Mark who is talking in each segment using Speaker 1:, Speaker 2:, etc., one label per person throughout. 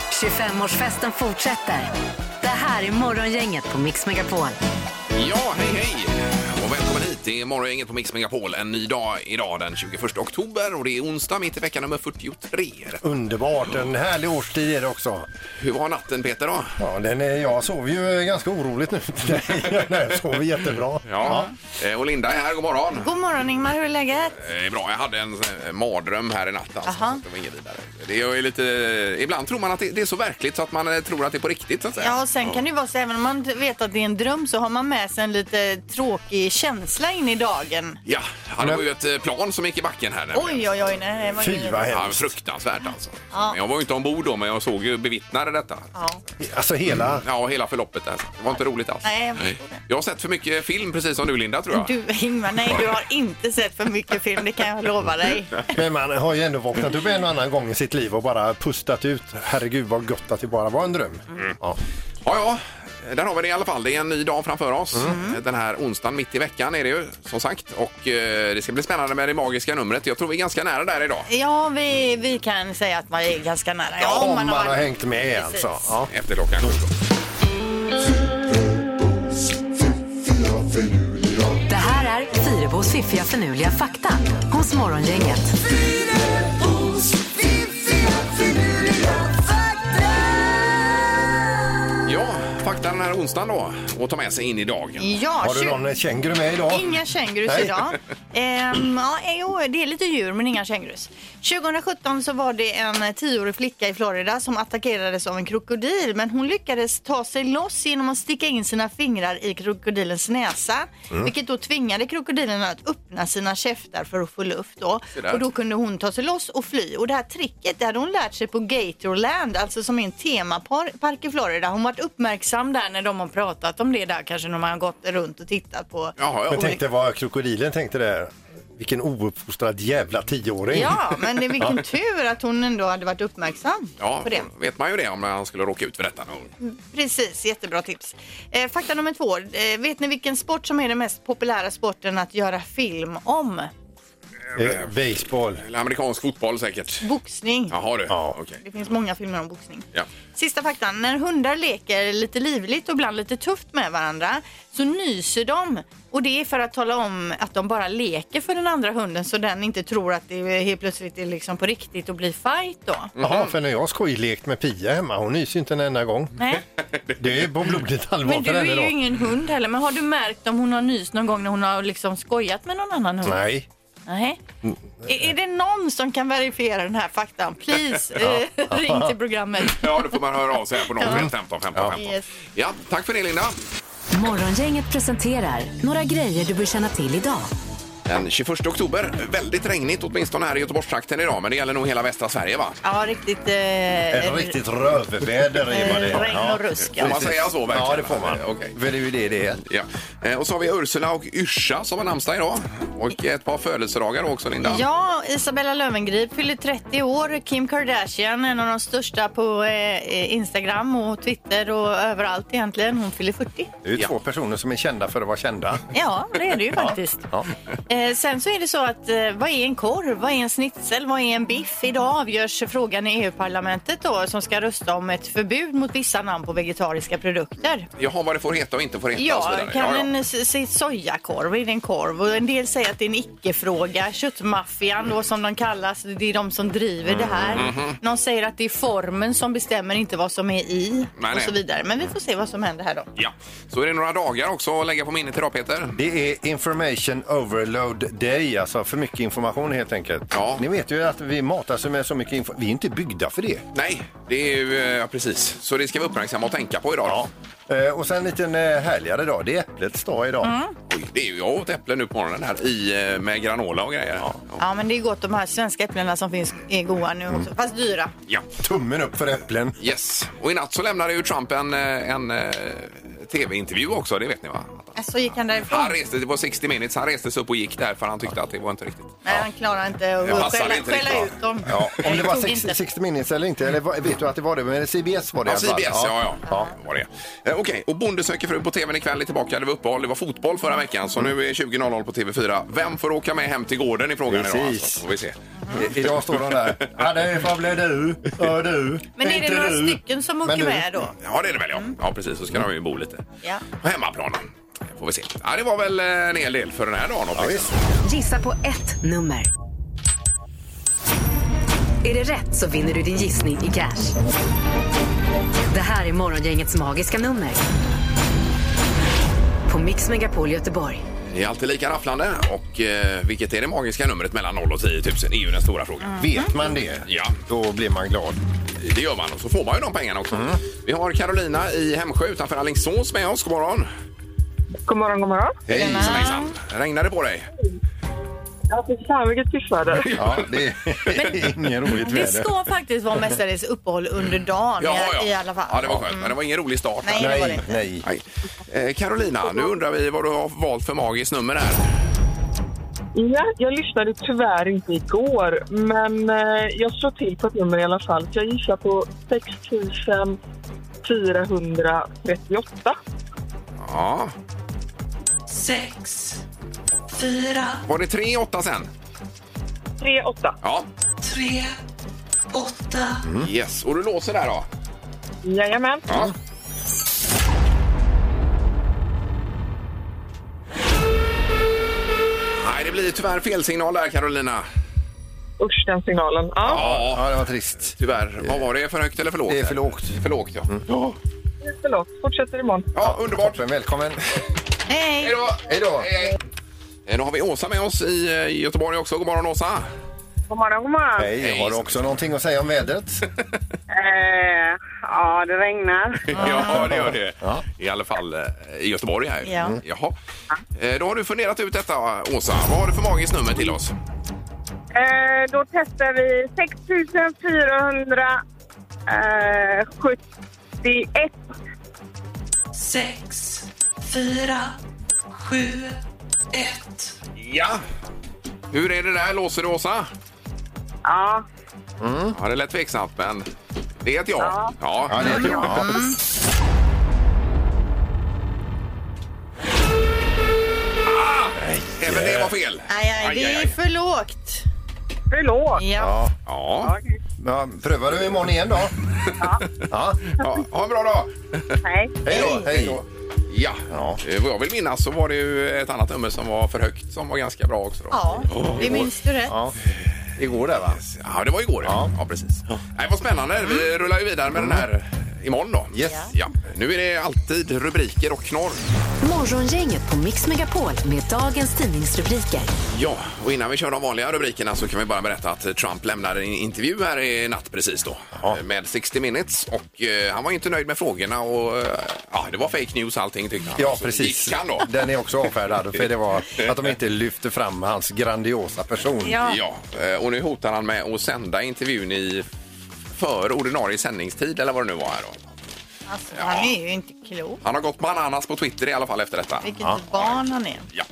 Speaker 1: 25-årsfesten fortsätter. Det här är Morgongänget på Mix Megapol.
Speaker 2: Ja, hej hej! Och välkommen hit. Det är Morgongänget på Mix Megapol. En ny dag idag den 21 oktober och det är onsdag mitt i vecka nummer 43.
Speaker 3: Underbart, en härlig årstid är det också.
Speaker 2: Hur var natten Peter då?
Speaker 3: Ja, den är, jag sov ju ganska oroligt nu. Nej, jag sov jättebra.
Speaker 2: Ja. Eh, Och Linda är här, god morgon.
Speaker 4: God morgon Ingmar, hur är läget?
Speaker 2: Eh, Det är bra, jag hade en eh, mardröm här i natt alltså.
Speaker 4: Aha.
Speaker 2: Så att Det var inget vidare. Det är ju lite... Ibland tror man att det det är så verkligt så att man eh, tror att det är på riktigt så att säga.
Speaker 4: Ja, och sen kan det ju vara så även om man vet att det är en dröm så har man med sig en lite tråkig känsla in i dagen.
Speaker 2: Ja, ja, det var ju ett eh, plan som gick i backen här. nämligen.
Speaker 4: Oj, oj, oj, nej, det var
Speaker 3: Fy,
Speaker 4: ingen-
Speaker 3: vad
Speaker 2: Ja,
Speaker 3: hemskt.
Speaker 2: fruktansvärt alltså.
Speaker 4: Ja.
Speaker 2: Men Jag var ju inte ombord då men jag såg ju bevittnade detta.
Speaker 4: Ja.
Speaker 3: Alltså hela...
Speaker 2: Mm, Ja, hela förloppet där. Det var inte roligt alls.
Speaker 4: Nej, jag förstår det.
Speaker 2: Jag har sett för mycket film precis som du Linda tror jag.
Speaker 4: Du Ingmar, nej du har inte sett för mycket film, det kan jag lova dig.
Speaker 3: Men man har ju ändå vaknat upp en och annan gång i sitt liv och bara pustat ut. Herregud vad gott att det bara var en dröm. Ja.
Speaker 2: Mm. Ja, ja. Där har vi det i alla fall. Det är en ny dag framför oss.
Speaker 4: Mm.
Speaker 2: Den här onsdagen mitt i veckan är det ju som sagt. Och eh, det ska bli spännande med det magiska numret. Jag tror vi är ganska nära där idag.
Speaker 4: Ja, vi, vi kan säga att man är ganska nära.
Speaker 3: Om man,
Speaker 4: varit-
Speaker 3: har hängt med
Speaker 4: Precis.
Speaker 3: alltså. Ja.
Speaker 2: Efter klockan 17.
Speaker 1: Det här är Fyrebos fiffiga förnuliga fakta hos Morgongänget.
Speaker 2: Ja, fakta den här onsdagen då. Och ta med sig in i dagen.
Speaker 4: Ja,
Speaker 3: Har du
Speaker 4: tjugo-
Speaker 3: någon känguru med idag?
Speaker 4: Inga kängurus
Speaker 3: Nej.
Speaker 4: idag. Ehm, ja, jo, det är lite djur men inga kängurus. 2017 så var det en 10-årig flicka i Florida som attackerades av en krokodil men hon lyckades ta sig loss genom att sticka in sina fingrar i krokodilens näsa
Speaker 2: Mm.
Speaker 4: vilket då tvingade krokodilen att öppna sina käftar för att få luft då.
Speaker 2: Se där.
Speaker 4: Och då kunde hon ta sig loss och fly och det här tricket det hade hon lärt sig på Gatorland alltså som är en temapark i Florida. Hon varit uppmärksam där när de har pratat om det där kanske när man har gått runt och tittat på
Speaker 2: Jaha, ja.
Speaker 3: Men tänkte vad krokodilen tänkte där. Vilken ouppfostrad jävla tioåring.
Speaker 4: Ja, men det är vilken typ. tur att hon ändå hade varit uppmärksam
Speaker 2: Ja,
Speaker 4: på det.
Speaker 2: vet man ju det om han skulle råka ut för detta.
Speaker 4: Precis, jättebra tips. Eh, fakta nummer två. Eh, vet ni vilken sport som är den mest populära sporten att göra film om?
Speaker 3: Eh, baseball.
Speaker 2: Eller amerikansk fotboll säkert.
Speaker 4: Boxning.
Speaker 2: Jaha du.
Speaker 3: Ja.
Speaker 2: Okej.
Speaker 4: Det finns många filmer om boxning.
Speaker 2: Ja.
Speaker 4: Sista faktan. När hundar leker lite livligt och ibland lite tufft med varandra så nyser de. Och det är för att tala om att de bara leker för den andra hunden så den inte tror att det helt plötsligt är liksom på riktigt och blir fight då.
Speaker 2: Mm-hmm.
Speaker 3: Jaha, för när jag skojlekt med Pia hemma, hon nyser ju inte en enda gång.
Speaker 4: Nej.
Speaker 3: Det är på blodigt allvar
Speaker 4: Men du
Speaker 3: för
Speaker 4: är
Speaker 3: henne
Speaker 4: ju
Speaker 3: då.
Speaker 4: ingen hund heller. Men har du märkt om hon har nys någon gång när hon har liksom skojat med någon annan hund?
Speaker 3: Nej.
Speaker 4: Nej. Är, är det någon som kan verifiera den här faktan? Please, eh, ring till programmet.
Speaker 2: Ja, då får man höra av sig här på 015 15 15.
Speaker 4: Yes.
Speaker 2: Ja, tack för det Linda.
Speaker 1: Morgongänget presenterar några grejer du bör känna till idag.
Speaker 2: Den 21 oktober. Väldigt regnigt åtminstone här i Göteborgstrakten idag, men det gäller nog hela västra Sverige va?
Speaker 4: Ja, riktigt...
Speaker 3: Ett
Speaker 4: Eh,
Speaker 3: riktigt rövväder är vad det är.
Speaker 4: Regn och rusk, ja.
Speaker 2: Får man säga så verkligen?
Speaker 3: Ja, det får man.
Speaker 2: Okej.
Speaker 3: För det är ju det det är.
Speaker 2: Ja. Eh, Och så har vi Ursula och Yrsa som har namnsdag idag. Och ett par födelsedagar också Linda.
Speaker 4: eh, Ja, Isabella Löwengrip fyller 30 år. Kim Kardashian, en av de största på eh, Instagram och Twitter och överallt egentligen. Hon fyller 40.
Speaker 3: Det är ju
Speaker 2: Ja.
Speaker 3: två personer som är kända för att vara kända.
Speaker 4: Ja, det är det ju faktiskt.
Speaker 3: Ja.
Speaker 4: Eh, sen så är det så att eh, vad är en korv, vad är en schnitzel, vad är en biff? Idag avgörs frågan i EU-parlamentet då som ska rösta om ett förbud mot vissa namn på vegetariska produkter.
Speaker 2: Jaha, vad det får heta och inte får heta och så
Speaker 4: Ja,
Speaker 2: vidare.
Speaker 4: kan
Speaker 2: alltså, ja, ja.
Speaker 4: en s- s- sojakorv, är det en korv? Och en del säger att det är en icke-fråga. Köttmaffian då som de kallas, det är de som driver det här.
Speaker 2: Mm, mhm.
Speaker 4: Någon säger att det är formen som bestämmer, inte vad som är i
Speaker 2: Nej,
Speaker 4: och
Speaker 2: nej.
Speaker 4: så vidare. Men vi får se vad som händer här då.
Speaker 2: Ja. Så är det några dagar också att lägga på minnet idag Peter.
Speaker 3: Det är information overload day, alltså för mycket information helt enkelt.
Speaker 2: Ja.
Speaker 3: Ni vet ju att vi matas med så mycket information. Vi är inte byggda för det.
Speaker 2: Nej, det är ju... eh, Ja, precis. Så det ska vi uppmärksamma och tänka på idag.
Speaker 3: Ja. Eh, och sen en liten eh, härligare dag. Det är äpplets dag idag.
Speaker 4: Mm.
Speaker 2: Oj, det är ju, jag åt äpplen nu på morgonen här i, eh, med granola och grejer. Ja.
Speaker 4: Ja, men det är gott. De här svenska äpplena som finns är goda nu
Speaker 2: Mm.
Speaker 4: också. Fast dyra.
Speaker 2: ja.
Speaker 3: Tummen upp för äpplen.
Speaker 2: Yes. Och i natt så lämnade ju Trump en, eh, en eh, tv-intervju också, det vet ni va?
Speaker 4: Så Alltså, gick han därifrån.
Speaker 2: Han reste, det var 60 minutes, han reste sig upp och gick där för han tyckte att det var inte riktigt.
Speaker 4: Nej, han klarar inte
Speaker 2: Det
Speaker 4: att
Speaker 2: passade
Speaker 4: skälla,
Speaker 2: inte
Speaker 4: skälla
Speaker 2: riktigt,
Speaker 4: ut dem.
Speaker 3: Ja, om det var
Speaker 4: tog
Speaker 3: sex-
Speaker 4: inte.
Speaker 3: 60 minutes eller inte, eller vad- vet du att det var det? Men CBS var det
Speaker 2: Ja,
Speaker 3: i alla
Speaker 2: CBS,
Speaker 3: fall.
Speaker 2: ja, ja. Det Var det. Eh, Okej, och Bonde söker fru på tvn ikväll är tillbaka. Det var uppehåll, det var fotboll förra veckan, så nu är 20.00 på TV4. Vem får åka med hem till gården i frågan idag?
Speaker 3: Precis.
Speaker 2: Alltså, får vi se.
Speaker 3: I- Idag står de där. Ja, det får bli du. Ja, du.
Speaker 4: Men är
Speaker 3: Inte
Speaker 4: det några
Speaker 3: du.
Speaker 4: stycken som åker
Speaker 3: Men du.
Speaker 4: med då? Mm.
Speaker 2: Ja, det är det väl ja. Ja, precis. Så ska de ju bo lite
Speaker 4: Ja.
Speaker 2: på hemmaplan. Får vi se. Ja, det var väl eh, en hel del för den här liksom. dagen. åtminstone.
Speaker 3: visst.
Speaker 1: Gissa på ett nummer. Är det rätt så vinner du din gissning i cash. Det här är Morgongängets magiska nummer. På Mix Megapol Göteborg.
Speaker 2: Det är alltid lika rafflande. Och eh, vilket är det magiska numret mellan 0 och 10 000? Det är ju den stora frågan.
Speaker 3: Mm. Vet man det,
Speaker 2: Ja.
Speaker 3: då blir man glad. Mm.
Speaker 2: Det gör man och så får man ju de pengarna också. Vi har Carolina i Hemsjö utanför Alingsås med oss. God morgon!
Speaker 5: God morgon, god morgon.
Speaker 2: Hej, hejsan! Regnar det på dig?
Speaker 5: Ja, fy fan vilket pissväder.
Speaker 3: Ja, det är inget roligt
Speaker 4: Det
Speaker 3: väder.
Speaker 4: står faktiskt vara mestadels uppehåll under dagen i- i alla fall.
Speaker 2: Mm. Ja,
Speaker 4: Mm.
Speaker 2: det var skönt. Men det var ingen rolig start.
Speaker 4: Nej, det var det
Speaker 3: Nej,
Speaker 4: inte.
Speaker 3: nej.
Speaker 2: Nej. Eh, Carolina, nu undrar vi vad du har valt för magiskt nummer här.
Speaker 5: Ja, jag lyssnade tyvärr inte igår, men eh, jag slår till på ett nummer i alla fall. Så jag gissar på 6438.
Speaker 2: Ja.
Speaker 6: sex, fyra,
Speaker 2: Var det 3 8 sen?
Speaker 5: 38.
Speaker 2: Ja. Mm.
Speaker 6: tre, åtta,
Speaker 2: Yes. Och du låser där då?
Speaker 5: Jajamän.
Speaker 2: Ja. Nej, det blir tyvärr felsignal där Carolina.
Speaker 5: Usch, den signalen. Ja,
Speaker 2: Ja,
Speaker 3: Ja, det var trist.
Speaker 2: tyvärr. Vad var det? För högt eller för lågt?
Speaker 3: Det är för lågt. Mm.
Speaker 2: För lågt, ja.
Speaker 5: förlåt. Fortsätter imorgon.
Speaker 2: Ja, underbart.
Speaker 3: Toppen, välkommen.
Speaker 4: Hej!
Speaker 2: Hej då!
Speaker 3: Hej då.
Speaker 2: Hej. Eh, Då har vi Åsa med oss i eh, Göteborg också. God morgon Åsa!
Speaker 5: God morgon, god morgon.
Speaker 3: Hej, har du också någonting att säga om vädret?
Speaker 7: Eh, ja, det regnar.
Speaker 2: Ja, det gör det.
Speaker 3: Ja.
Speaker 2: I alla fall eh, i Göteborg här.
Speaker 4: Ja.
Speaker 2: Mm. Jaha. Eh, Då har du funderat ut detta, Åsa. Vad har du för magiskt nummer till oss?
Speaker 7: Eh, då testar vi 6471.
Speaker 6: sex, fyra, sju, ett.
Speaker 2: Ja! Hur är det där? Låser du, Åsa?
Speaker 7: Ja,
Speaker 2: Ja, det lät tveksamt, men det är ett ja. Ja,
Speaker 3: Mm. Ja, Mm. det är bra. Ja.
Speaker 2: Ah! Även det var fel.
Speaker 4: Aj, aj, det är
Speaker 2: aj.
Speaker 4: för lågt.
Speaker 5: Förlåt.
Speaker 4: Ja.
Speaker 3: Ja.
Speaker 2: Ja.
Speaker 3: Ja, prövar du imorgon igen då? Ja.
Speaker 2: ja, ha en bra dag!
Speaker 7: nej.
Speaker 3: Hej då. Hej då.
Speaker 2: Ja,
Speaker 3: Ja.
Speaker 2: Eh, vad jag vill minnas så var det ju ett annat nummer som var för högt som var ganska bra också. Då.
Speaker 4: Ja, det minns du rätt.
Speaker 3: Ja. Igår där va?
Speaker 2: Ja, det var igår. Ja, ja precis. Nej, vad spännande.
Speaker 4: Mm.
Speaker 2: Vi rullar ju vidare med den här imorgon då.
Speaker 3: Mm. Yes.
Speaker 2: Ja. Nu är det alltid rubriker och knorr.
Speaker 1: Morgongänget på Mix Megapol med dagens tidningsrubriker.
Speaker 2: Ja, och innan vi kör de vanliga rubrikerna så kan vi bara berätta att Trump lämnade en intervju här i natt precis då eh, med 60 minutes och eh, han var ju inte nöjd med frågorna och eh, ja, det var fake news allting tyckte han.
Speaker 3: Ja,
Speaker 2: Så
Speaker 3: precis.
Speaker 2: Gick han då?
Speaker 3: Den är också avfärdad för det var att de inte lyfte fram hans grandiosa person.
Speaker 4: Ja.
Speaker 2: Ja, eh, och nu hotar han med att sända intervjun i för ordinarie sändningstid eller vad det nu var här då.
Speaker 4: Alltså, han är ju inte klok.
Speaker 2: Han har gått bananas på Twitter i alla fall efter detta.
Speaker 4: Vilket barn han är.
Speaker 2: Ja,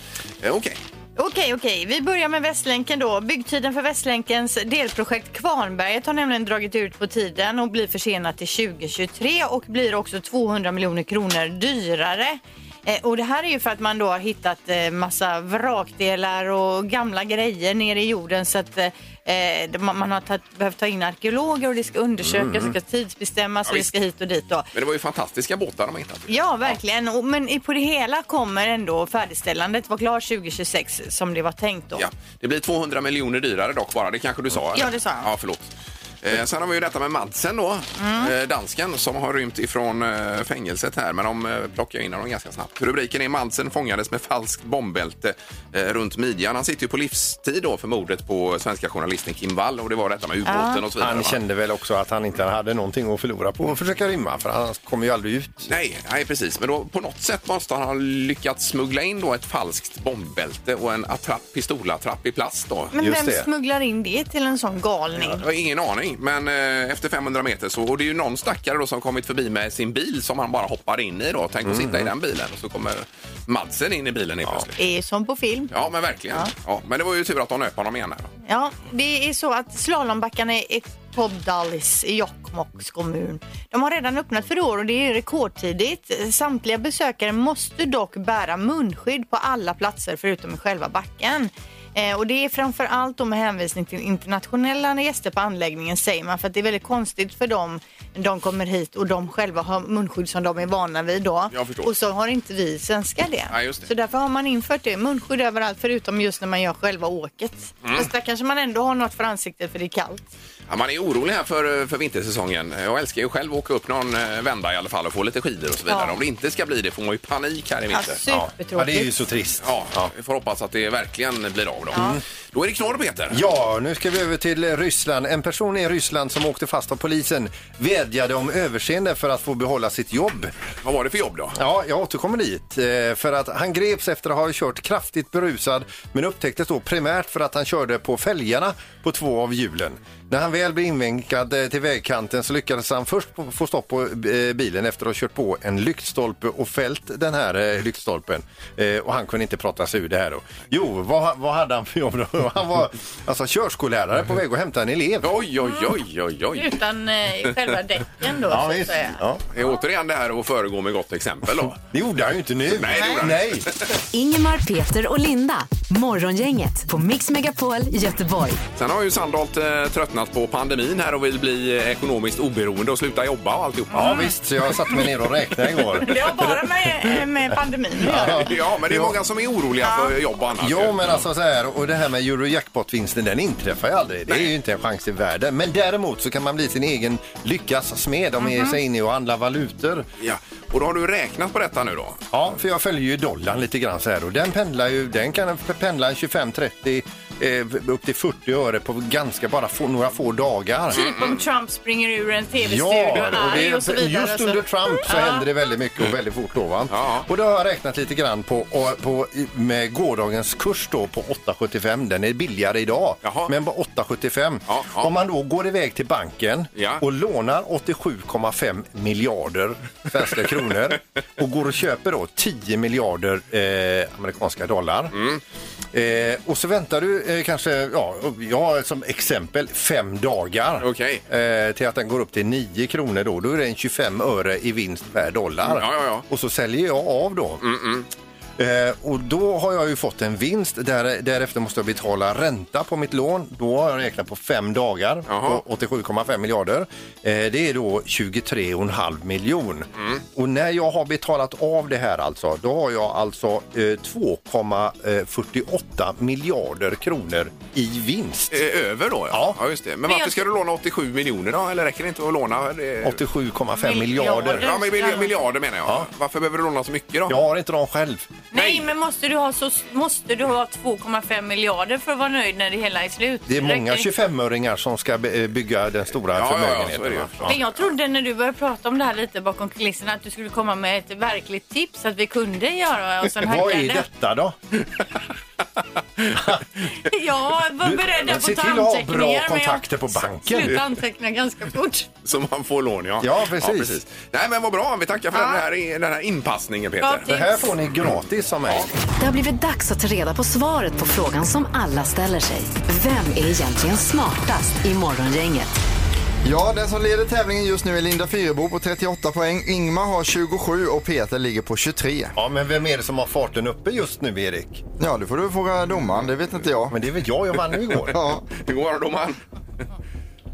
Speaker 2: eh, okej.
Speaker 4: Okej, okej. Vi börjar med Västlänken då. Byggtiden för Västlänkens delprojekt Kvarnberget har nämligen dragit ut på tiden och blir försenat till 2023 och blir också 200 miljoner kronor dyrare. Eh, Och det här är ju för att man då har hittat eh, massa vrakdelar och gamla grejer nere i jorden så att eh, eh, man man har tagit, behövt ta in arkeologer och det ska undersökas, det ska tidsbestämmas och det
Speaker 2: visst.
Speaker 4: Alltså, ska hit och dit då.
Speaker 2: Men det var ju fantastiska båtar de har hittat.
Speaker 4: Ja, verkligen. Och, men i- på det hela kommer ändå färdigställandet vara klart 2026 som det var tänkt då.
Speaker 2: Ja, det blir 200 miljoner dyrare dock bara, det kanske du sa? eller?
Speaker 4: Ja, det sa jag.
Speaker 2: Ja, förlåt. Eh, sen har vi ju detta med Madsen då,
Speaker 4: Mm.
Speaker 2: eh, dansken som har rymt ifrån eh, fängelset här, men de eh, plockar in honom ganska snabbt. Rubriken är Madsen fångades med falskt bombbälte eh, runt midjan. Han sitter ju på livstid då för mordet på svenska journalisten Kim Wall och det var detta med ubåten och så vidare.
Speaker 3: Han
Speaker 2: va?
Speaker 3: kände väl också att han inte hade någonting att förlora på att försöka rymma för han kommer ju aldrig ut.
Speaker 2: Nej, nej, precis. Men då, på något sätt måste han ha lyckats smuggla in då ett falskt bombbälte och en attrapp, pistolattrapp i plast. Då.
Speaker 4: Men
Speaker 3: Just
Speaker 4: vem
Speaker 3: det.
Speaker 4: smugglar in det till en sån galning?
Speaker 2: Jag har ingen aning. någonting. Men eh, efter 500 meter så och det är ju någon stackare då som kommit förbi med sin bil som han bara hoppar in i då. Tänk att
Speaker 3: Mm.
Speaker 2: sitta i den bilen och så kommer Madsen in i bilen helt plötsligt.
Speaker 4: Det är som på film.
Speaker 2: Ja, men verkligen. Ja. men det var ju tur att de nöp honom igen. Här. då.
Speaker 4: Ja, det är så att slalombackarna i Kobdalis i Jokkmokks kommun. De har redan öppnat för i år och det är rekordtidigt. Samtliga besökare måste dock bära munskydd på alla platser förutom i själva backen. Eh, och det är framför allt då med hänvisning till internationella gäster på anläggningen säger man för att det är väldigt konstigt för dem. De kommer hit och de själva har munskydd som de är vana vid då.
Speaker 2: Jag förstår.
Speaker 4: Och så har inte vi svenskar det.
Speaker 2: Nej, just det.
Speaker 4: Så därför har man infört det. Munskydd överallt förutom just när man gör själva åket.
Speaker 2: Mm.
Speaker 4: Fast där kanske man ändå har något för ansiktet för det är kallt.
Speaker 2: Ja, man är orolig här för, för vintersäsongen. Jag älskar ju själv att åka upp någon eh, vända i alla fall och få lite skidor och så vidare.
Speaker 4: Ja.
Speaker 2: Om det inte ska bli det får man ju panik här i
Speaker 4: Ja,
Speaker 2: vinter.
Speaker 3: Ja, det är ju
Speaker 4: supertråkigt.
Speaker 3: så trist. Mm.
Speaker 2: Ja, vi får hoppas att det verkligen blir av då. Då är det knorr, Peter.
Speaker 3: Ja, nu ska vi över till Ryssland. En person i Ryssland som åkte fast av polisen vädjade om överseende för att få behålla sitt jobb.
Speaker 2: Vad var det för jobb då?
Speaker 3: Ja, jag återkommer dit. Eh, För att han greps efter att ha kört kraftigt berusad men upptäcktes då primärt för att han körde på fälgarna på två av hjulen. När han väl blev invinkad eh, till vägkanten så lyckades han först po- få stopp på eh, bilen efter att ha kört på en lyktstolpe och fällt den här eh, lyktstolpen. Eh, Och han kunde inte prata sig ur det här då. Jo, vad, vad hade han för jobb då? Han var alltså körskollärare på väg att hämta en elev.
Speaker 2: Oj, oj, oj, oj, oj.
Speaker 4: Utan eh, själva däcken då så att säga.
Speaker 3: Ja.
Speaker 2: Det är återigen det här att föregå med gott exempel då.
Speaker 3: Det gjorde han ju inte nu.
Speaker 2: Nej, det gjorde han
Speaker 3: Nej.
Speaker 1: Ingemar, Peter och Linda. Morgongänget på Mix Megapol Göteborg.
Speaker 2: Sen har ju Sandholt eh, tröttnat på pandemin här och vill bli eh, ekonomiskt oberoende och sluta jobba och
Speaker 3: Ja,
Speaker 2: alltihopa.
Speaker 3: visst, så jag satte mig ner och räknade igår.
Speaker 4: Det har bara
Speaker 8: eh,
Speaker 4: med, med pandemin att göra.
Speaker 2: Ja, men det är många som är oroliga för jobb och annat.
Speaker 3: Ja, men alltså så här, och det här med Eurojackpot-vinsten, den inträffar ju aldrig. Det är ju inte en chans i världen. Men däremot så kan man bli sin egen lyckas smed om man ger sig in i och handlar valutor.
Speaker 2: Mhm. Ja. Och då har du räknat på detta nu då?
Speaker 3: Ja, för jag följer ju dollarn lite grann så här och den pendlar ju, den kan pendla 25-30 eh, upp till 40 öre på ganska bara få, några få dagar. Mm.
Speaker 4: Typ om Trump springer ur en
Speaker 3: Ja,
Speaker 4: tv-studio
Speaker 3: och det,
Speaker 4: arg och så vidare.
Speaker 3: just
Speaker 4: så-
Speaker 3: under Trump så händer det väldigt mycket och väldigt fort då va?
Speaker 2: Ja.
Speaker 3: Och då har jag räknat lite grann på, och- på med gårdagens kurs då på 8,75. Den är billigare idag,
Speaker 2: Jaha.
Speaker 3: men på 8,75.
Speaker 2: Ja, ja.
Speaker 3: Om man då går iväg till banken
Speaker 2: Ja.
Speaker 3: och lånar 87,5 miljarder svenska kronor och går och köper då 10 miljarder eh, amerikanska dollar. Eh, och så väntar du eh, kanske, ja, jag har som exempel fem dagar
Speaker 2: Okej.
Speaker 3: eh, till att den går upp till 9 kronor då. Då är det en 25 öre i vinst per dollar.
Speaker 2: Ja, ja, ja.
Speaker 3: Och så säljer jag av då. Eh, och då har jag ju fått en vinst. Där, därefter måste jag betala ränta på mitt lån. Då har jag räknat på fem dagar
Speaker 2: Jaha.
Speaker 3: på 87,5 miljarder. Eh, det är då 23,5 miljon.
Speaker 2: Mm.
Speaker 3: Och när jag har betalat av det här alltså, då har jag alltså eh, 2,48 miljarder kronor i vinst.
Speaker 2: Eh, Över då?
Speaker 3: Ja.
Speaker 2: just det. Men varför ska du låna 87 miljoner då? Eller räcker det inte att låna? eh,
Speaker 3: 87,5
Speaker 4: Miljarder.
Speaker 3: miljarder.
Speaker 2: Ja, men mil- miljarder menar jag.
Speaker 3: Ja.
Speaker 2: Varför behöver du låna så mycket då?
Speaker 3: Jag har inte dem själv.
Speaker 2: Nej,
Speaker 8: Nej, men måste du ha, så, måste du ha 2,5 miljarder för att vara nöjd när det hela är slut?
Speaker 3: Det är många
Speaker 8: Räcker-
Speaker 3: 25-öringar som ska be- eh, bygga den stora
Speaker 2: Ja, ja, ja, så är
Speaker 3: förmögenheten.
Speaker 2: det ju.
Speaker 3: va?
Speaker 2: Ja.
Speaker 8: Men jag trodde när du började prata om det här lite bakom kulisserna att du skulle komma med ett verkligt tips att vi kunde göra oss en
Speaker 3: Vad är
Speaker 8: hackande.
Speaker 3: detta då?
Speaker 8: Jag var
Speaker 3: Du,
Speaker 8: beredd på
Speaker 3: se
Speaker 8: att ta
Speaker 3: till att ha
Speaker 8: anteckningar.
Speaker 3: bra
Speaker 8: men jag
Speaker 3: kontakter på banken.
Speaker 8: Sluta anteckna ganska fort.
Speaker 2: Så man får lån, ja.
Speaker 3: Ja, precis.
Speaker 2: Nej, men vad bra. Vi tackar för den, här, den här inpassningen,
Speaker 8: Bra
Speaker 2: Peter.
Speaker 8: tips.
Speaker 3: Det här får ni gratis av mig.
Speaker 1: Det har blivit dags att ta reda på svaret på frågan som alla ställer sig. Vem är egentligen smartast i Morgongänget?
Speaker 9: Ja, den som leder tävlingen just nu är Linda Fyrebo på 38 poäng. Ingmar har 27 och Peter ligger på 23.
Speaker 3: Ja, men vem är det som har farten uppe just nu, Erik?
Speaker 9: Ja, det får du fråga domaren, det vet inte jag.
Speaker 3: Men det är väl jag, jag vann ju igår.
Speaker 9: Ja,
Speaker 2: Hur går det, domaren?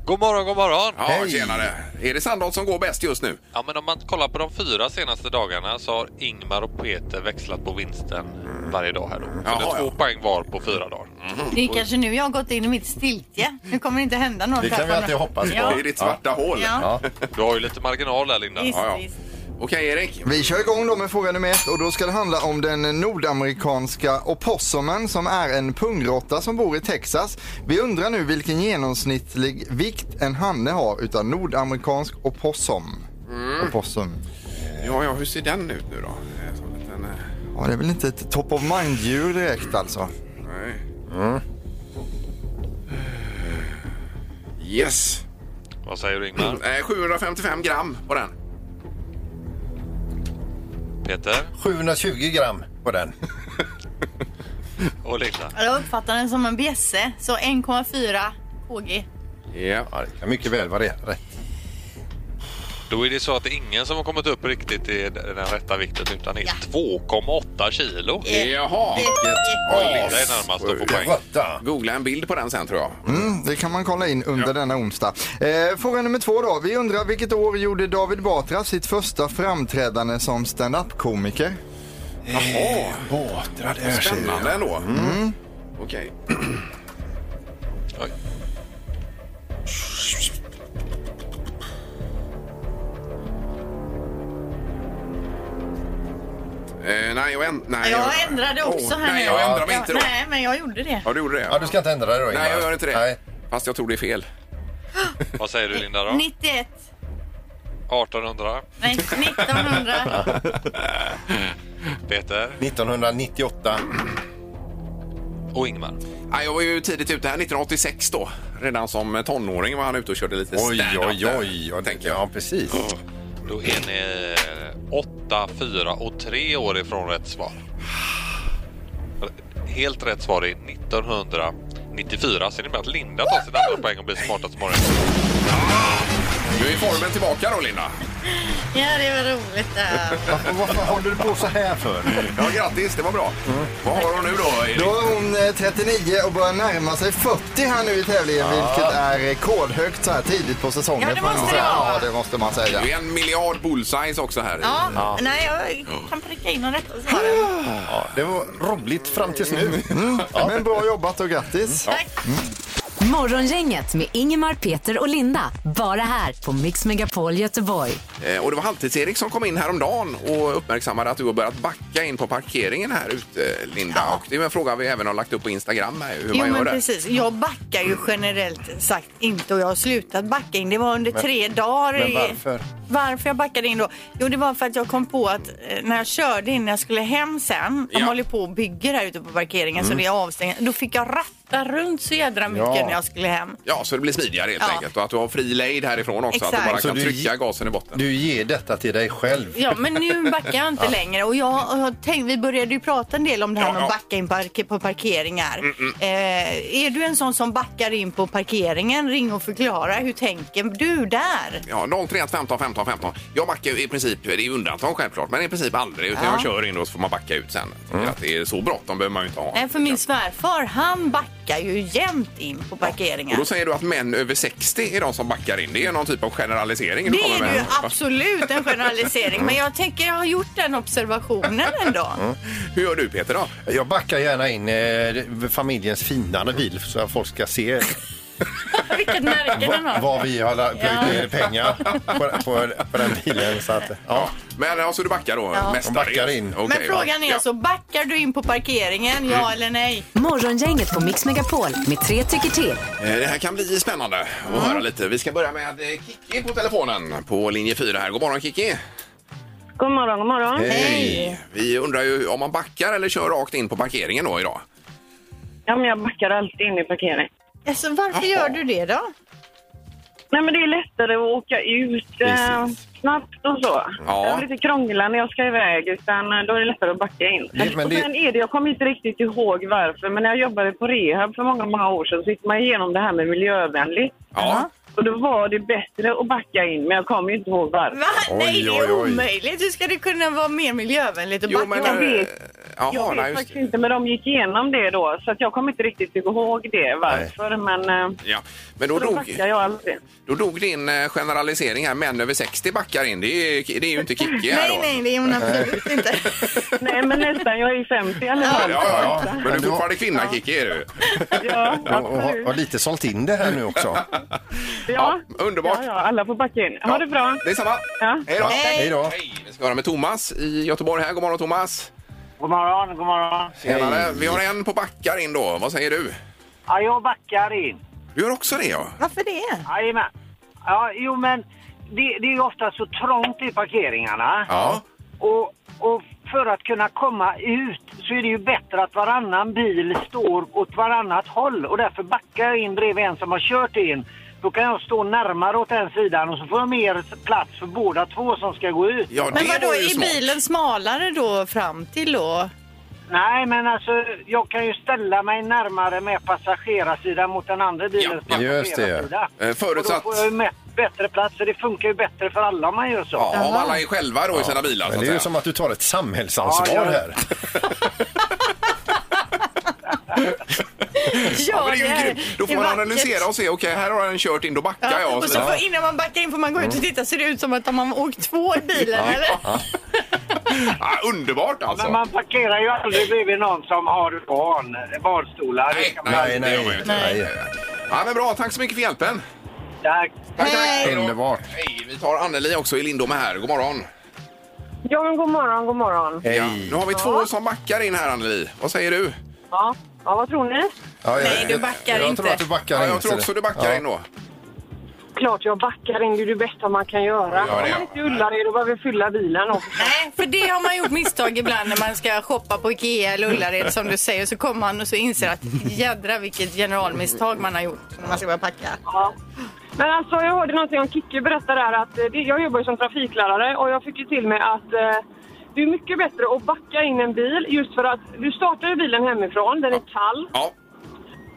Speaker 10: God morgon, god morgon!
Speaker 2: Ja,
Speaker 3: Hej.
Speaker 2: tjenare. Är det Sandholt som går bäst just nu?
Speaker 10: Ja, men om man kollar på de fyra senaste dagarna så har Ingmar och Peter växlat på vinsten
Speaker 3: Mm.
Speaker 10: varje dag här då. Så
Speaker 2: Jaha,
Speaker 10: det är två
Speaker 2: ja.
Speaker 10: poäng var på fyra dagar.
Speaker 4: Det är kanske nu jag har gått in i mitt stiltje. Nu kommer det inte hända något.
Speaker 3: Det kan
Speaker 4: här
Speaker 3: vi
Speaker 4: från-
Speaker 3: alltid hoppas på.
Speaker 4: Ja.
Speaker 2: Det är ditt svarta hål.
Speaker 4: Ja.
Speaker 10: Du har ju lite marginal där Linda.
Speaker 4: Visst,
Speaker 2: ja.
Speaker 4: visst.
Speaker 2: Okej, Erik.
Speaker 9: vi kör igång då med fråga nummer ett och då ska det handla om den nordamerikanska opossumen som är en pungråtta som bor i Texas. Vi undrar nu vilken genomsnittlig vikt en hanne har utav nordamerikansk opossum. Opossum.
Speaker 2: Ja, ja, hur ser den ut nu då? Eh, Som en liten, eh,
Speaker 9: Ja, det är väl inte ett top of mind-djur direkt alltså. Mm.
Speaker 2: nej. Yes.
Speaker 10: Vad säger du Ingmar?
Speaker 2: Eh, 755 gram på den.
Speaker 10: Peter
Speaker 3: 720 gram på den.
Speaker 10: och Linda?
Speaker 4: Jag uppfattar den som en bjässe, så 1,4 kg.
Speaker 2: Ja.
Speaker 3: det kan mycket väl vara det. Rätt.
Speaker 10: Då är det så att det är ingen som har kommit upp riktigt i den rätta vikten utan det är 2,8 kilo.
Speaker 2: Jaha.
Speaker 10: Och Linda är närmast att få poäng.
Speaker 2: Googla en bild på den sen tror jag.
Speaker 9: Mm, det kan man kolla in under denna onsdag. Eh, fråga nummer två då. Vi undrar vilket år gjorde David Batra sitt första framträdande som stand-up-komiker? Eh,
Speaker 2: Jaha.
Speaker 3: Batra
Speaker 2: där Spännande ändå.
Speaker 9: Mm.
Speaker 2: Okej.
Speaker 10: Oj.
Speaker 2: Eh, nej, jag, änd- nej,
Speaker 4: Jag ändrade också
Speaker 2: Åh,
Speaker 4: här
Speaker 2: Nej,
Speaker 4: nu.
Speaker 2: jag ändrar mig inte då.
Speaker 4: Nej, men jag gjorde det.
Speaker 2: Ja, du gjorde det.
Speaker 3: Ja, du ska inte ändra dig då, Ingmar.
Speaker 2: Nej, jag gör inte det.
Speaker 3: Nej.
Speaker 2: Fast jag tror det är fel.
Speaker 10: Vad säger du Linda då?
Speaker 4: 91.
Speaker 10: 1800?
Speaker 4: Nej, 1900.
Speaker 10: Peter
Speaker 3: 1998.
Speaker 10: och Ingmar.
Speaker 2: Ja, jag var ju tidigt ute här, 1986 då. Redan som tonåring var han ute och körde lite
Speaker 3: Oj,
Speaker 2: stand-up
Speaker 3: oj,
Speaker 2: där,
Speaker 3: oj, oj.
Speaker 2: Tänker jag.
Speaker 3: Ja, precis.
Speaker 10: Då är ni 8, 4 och 3 år ifrån rätt svar. Helt rätt svar är 1994. Ser ni med att Linda tar sin andra poäng och blir smartast imorgon?
Speaker 2: Nu är formen tillbaka då, Linda.
Speaker 4: Ja, det var roligt det här.
Speaker 3: Varför, varför håller du på så här för?
Speaker 2: Ja, grattis, det var bra. Vad har hon nu då? Erik?
Speaker 9: Då är hon eh, 39 och börjar närma sig 40 här nu i tävlingen, vilket är rekordhögt så här tidigt på säsongen.
Speaker 4: Ja, det
Speaker 9: får man
Speaker 4: måste
Speaker 9: säga.
Speaker 4: det vara.
Speaker 9: Ja, det måste man säga.
Speaker 2: Det är en miljard bullseyes också här.
Speaker 4: Ja, nej, jag kan pricka in de rätta svaren.
Speaker 3: Ja, det var roligt fram tills nu. Mm.
Speaker 9: Men bra jobbat och grattis.
Speaker 1: Morgongänget med Ingemar, Peter och Linda. Bara här på Mix Megapol Göteborg.
Speaker 2: Eh, Och det var Halvtids-Erik som kom in häromdagen och uppmärksammade att du har börjat backa in på parkeringen här ute, Linda. Och det är en fråga vi även har lagt upp på Instagram här, hur
Speaker 4: Jo
Speaker 2: man gör
Speaker 4: men
Speaker 2: det.
Speaker 4: precis, jag backar ju generellt sagt inte och jag har slutat backa in. Det var under tre dagar.
Speaker 3: men
Speaker 4: i-
Speaker 3: varför?
Speaker 4: Varför jag backade in då? Jo det var för att jag kom på att eh, när jag körde in, när jag skulle hem sen, de
Speaker 2: Ja. Mm.
Speaker 4: håller på och bygger här ute på parkeringen så det är avstängt. Då fick jag ratta runt så jädra mycket
Speaker 3: Ja.
Speaker 4: när jag skulle hem.
Speaker 2: Ja, så det blir smidigare helt
Speaker 4: Ja.
Speaker 2: enkelt. Och att du har fri lejd härifrån också, att du
Speaker 4: Exakt.
Speaker 2: bara
Speaker 3: Så
Speaker 2: kan
Speaker 3: du-
Speaker 2: trycka gasen i botten.
Speaker 3: Du ger detta till dig själv.
Speaker 4: Ja men nu backar jag inte längre och jag har tänkt, vi började ju prata en del om det här
Speaker 2: Ja,
Speaker 4: med
Speaker 2: ja. Mm,
Speaker 4: att backa in parke- på parkeringar. Eh, är du en sån som backar in på parkeringen? Ring och förklara, hur tänker du där?
Speaker 2: Ja, 031 15 15 15. Jag backar ju i princip, det är ju undantag självklart, men i princip aldrig. Utan
Speaker 4: Ja.
Speaker 2: jag kör in och så får man backa ut sen. För
Speaker 3: Mm.
Speaker 2: Att det är så bråttom behöver man ju inte ha.
Speaker 4: Nej, för min svärfar han backar ju jämt in på
Speaker 2: Och
Speaker 4: parkeringen.
Speaker 2: då säger du att män över 60 är de som backar in. Det är någon typ av generalisering du
Speaker 4: Det
Speaker 2: kommer
Speaker 4: är
Speaker 2: med.
Speaker 4: ju absolut en generalisering, men jag tänker jag har gjort den observationen ändå.
Speaker 2: Hur gör du Peter då?
Speaker 3: Jag backar gärna in eh, familjens finare bil så att folk ska se
Speaker 8: Vilket märke den har.
Speaker 3: vad vi har la- plöjt ner pengar på, på, på den bilen. Så att, ja.
Speaker 2: Men alltså du backar då ja. mestadels?
Speaker 3: Backar in.
Speaker 2: Okej,
Speaker 4: Men frågan är
Speaker 2: ja.
Speaker 4: alltså, backar du in på parkeringen, ja eller nej?
Speaker 1: Morgongänget på Mix Megapol med tre tycker till.
Speaker 2: Eh, Det här kan bli spännande att
Speaker 4: Mm.
Speaker 2: höra lite. Vi ska börja med eh, Kiki på telefonen på linje 4 här. God morgon Kiki!
Speaker 7: God morgon, god morgon.
Speaker 2: Hej! Vi undrar ju om man backar eller kör rakt in på parkeringen då idag.
Speaker 7: Ja, men jag backar alltid in i parkering.
Speaker 4: Alltså, varför gör du det då?
Speaker 7: Nej, men det är lättare att åka ut eh, snabbt och så.
Speaker 2: Ja.
Speaker 7: Jag blir lite krånglig när jag ska iväg, utan eh, då är det lättare att backa in.
Speaker 3: Det- men
Speaker 7: och
Speaker 3: det-
Speaker 7: sen är det, jag kommer inte riktigt ihåg varför, men när jag jobbade på rehab för många, många år sedan så gick man igenom det här med miljövänligt.
Speaker 2: Ja.
Speaker 7: Och då var det bättre att backa in, men jag kommer ju inte ihåg varför.
Speaker 4: Va?
Speaker 3: Oj,
Speaker 4: nej, det
Speaker 3: oj,
Speaker 4: är
Speaker 3: oj.
Speaker 4: omöjligt. Hur ska det kunna vara mer miljövänligt att backa?
Speaker 7: Jag
Speaker 2: eh,
Speaker 7: vet.
Speaker 2: Jaha,
Speaker 7: jag
Speaker 2: nej,
Speaker 7: vet
Speaker 2: just
Speaker 7: faktiskt
Speaker 2: det.
Speaker 7: inte, men de gick igenom det då, så att jag kommer inte riktigt ihåg det varför, men eh,
Speaker 2: Ja. Men då
Speaker 7: då
Speaker 2: dog,
Speaker 7: backar jag alltid.
Speaker 2: då dog din eh, generalisering här, män över 60 backar in. Det är, det är ju inte Kiki här
Speaker 4: Nej,
Speaker 2: då.
Speaker 4: nej, det är hon absolut inte.
Speaker 7: Nej, men nästan. Jag är 50 i alla
Speaker 2: Ja,
Speaker 7: fall.
Speaker 2: ja, ja. Men du är fortfarande kvinna Kiki är du.
Speaker 7: Ja,
Speaker 3: Och, och, har-
Speaker 7: absolut.
Speaker 3: har lite sålt in det här nu också.
Speaker 7: Ja.
Speaker 2: underbart.
Speaker 7: Ja, ja, alla får backa in. Ha det bra.
Speaker 2: Detsamma.
Speaker 7: Ja.
Speaker 2: Hej då.
Speaker 4: Hej.
Speaker 3: Hej då.
Speaker 2: Hej. Vi ska höra med Thomas i Göteborg här. God morgon Thomas.
Speaker 5: God morgon, god morgon.
Speaker 2: Tjenare. Vi har en på backar in då. Vad säger du?
Speaker 5: Ja, jag backar in.
Speaker 2: Du gör också det ja.
Speaker 4: Varför det?
Speaker 5: Jajamän. Ja, jo, men det, det är ju ofta så trångt i parkeringarna.
Speaker 2: Ja.
Speaker 5: Och, och för att kunna komma ut så är det ju bättre att varannan bil står åt varannat håll och därför backar jag in bredvid en som har kört in.
Speaker 11: Då kan jag stå närmare åt den sidan och så får jag mer plats för båda två som ska gå ut.
Speaker 4: men vadå, är bilen smalare då fram till då?
Speaker 11: Nej, men alltså jag kan ju ställa mig närmare med passagerarsidan mot den andra bilens
Speaker 2: ja. Just det, ja.
Speaker 11: passagerarsida.
Speaker 2: Eh, förutsatt-
Speaker 11: Och då får jag ju mä- bättre plats, så det funkar ju bättre för alla om man gör så.
Speaker 2: Ja, om alla är själva då i sina bilar.
Speaker 3: Men
Speaker 2: så
Speaker 3: det
Speaker 2: att
Speaker 3: är ju
Speaker 2: säga.
Speaker 3: som att du tar ett samhällsansvar
Speaker 2: Ja, ja.
Speaker 3: här.
Speaker 2: Ja, men det är ju
Speaker 4: här-
Speaker 2: grymt. Då får
Speaker 4: det är
Speaker 2: man
Speaker 4: vackert.
Speaker 2: analysera och se, okej här har den kört in, då backar
Speaker 4: Ja,
Speaker 2: jag.
Speaker 4: och så
Speaker 2: vidare.
Speaker 4: får, innan man backar in får man gå
Speaker 2: Mm.
Speaker 4: ut och titta, ser det ut som att de har åkt två i bilen eller?
Speaker 2: Ja, underbart alltså!
Speaker 11: Men man parkerar ju aldrig bredvid någon som har barn, barnstolar. Det kan man
Speaker 2: Nej,
Speaker 11: aldrig
Speaker 2: nej,
Speaker 11: göra.
Speaker 2: nej. nej. Ja, men bra, tack så mycket för hjälpen.
Speaker 11: Tack.
Speaker 2: tack, tack. Underbart. Hej, vi tar Anneli också i Lindome här. God morgon.
Speaker 7: Ja, men god morgon, god morgon.
Speaker 2: Ja, nu har vi två som backar in här Anneli. Vad säger du?
Speaker 7: Ja, ja vad tror ni?
Speaker 2: Nej, du backar
Speaker 3: jag inte. tror att du backar
Speaker 2: ja,
Speaker 3: in,
Speaker 2: Jag tror
Speaker 3: ser
Speaker 2: också
Speaker 3: du.
Speaker 2: du backar
Speaker 3: Ja.
Speaker 2: in då.
Speaker 7: Klart jag backar in, det är det bästa man kan göra.
Speaker 2: Ja, det
Speaker 7: Om
Speaker 2: är-
Speaker 7: man inte ullar det, då behöver vi fylla bilen också.
Speaker 4: Nej, för det har man gjort misstag ibland när man ska shoppa på Ikea eller Ullared som du säger. Så kommer man och så inser att jädra vilket generalmisstag man har gjort när man ska börja packa.
Speaker 7: Men alltså, jag hörde någonting om Kikki berätta där att eh, det- jag jobbar ju som trafiklärare och jag fick ju till mig att eh, det är mycket bättre att backa in en bil just för att du startar ju bilen hemifrån, den är kall.
Speaker 2: Ja.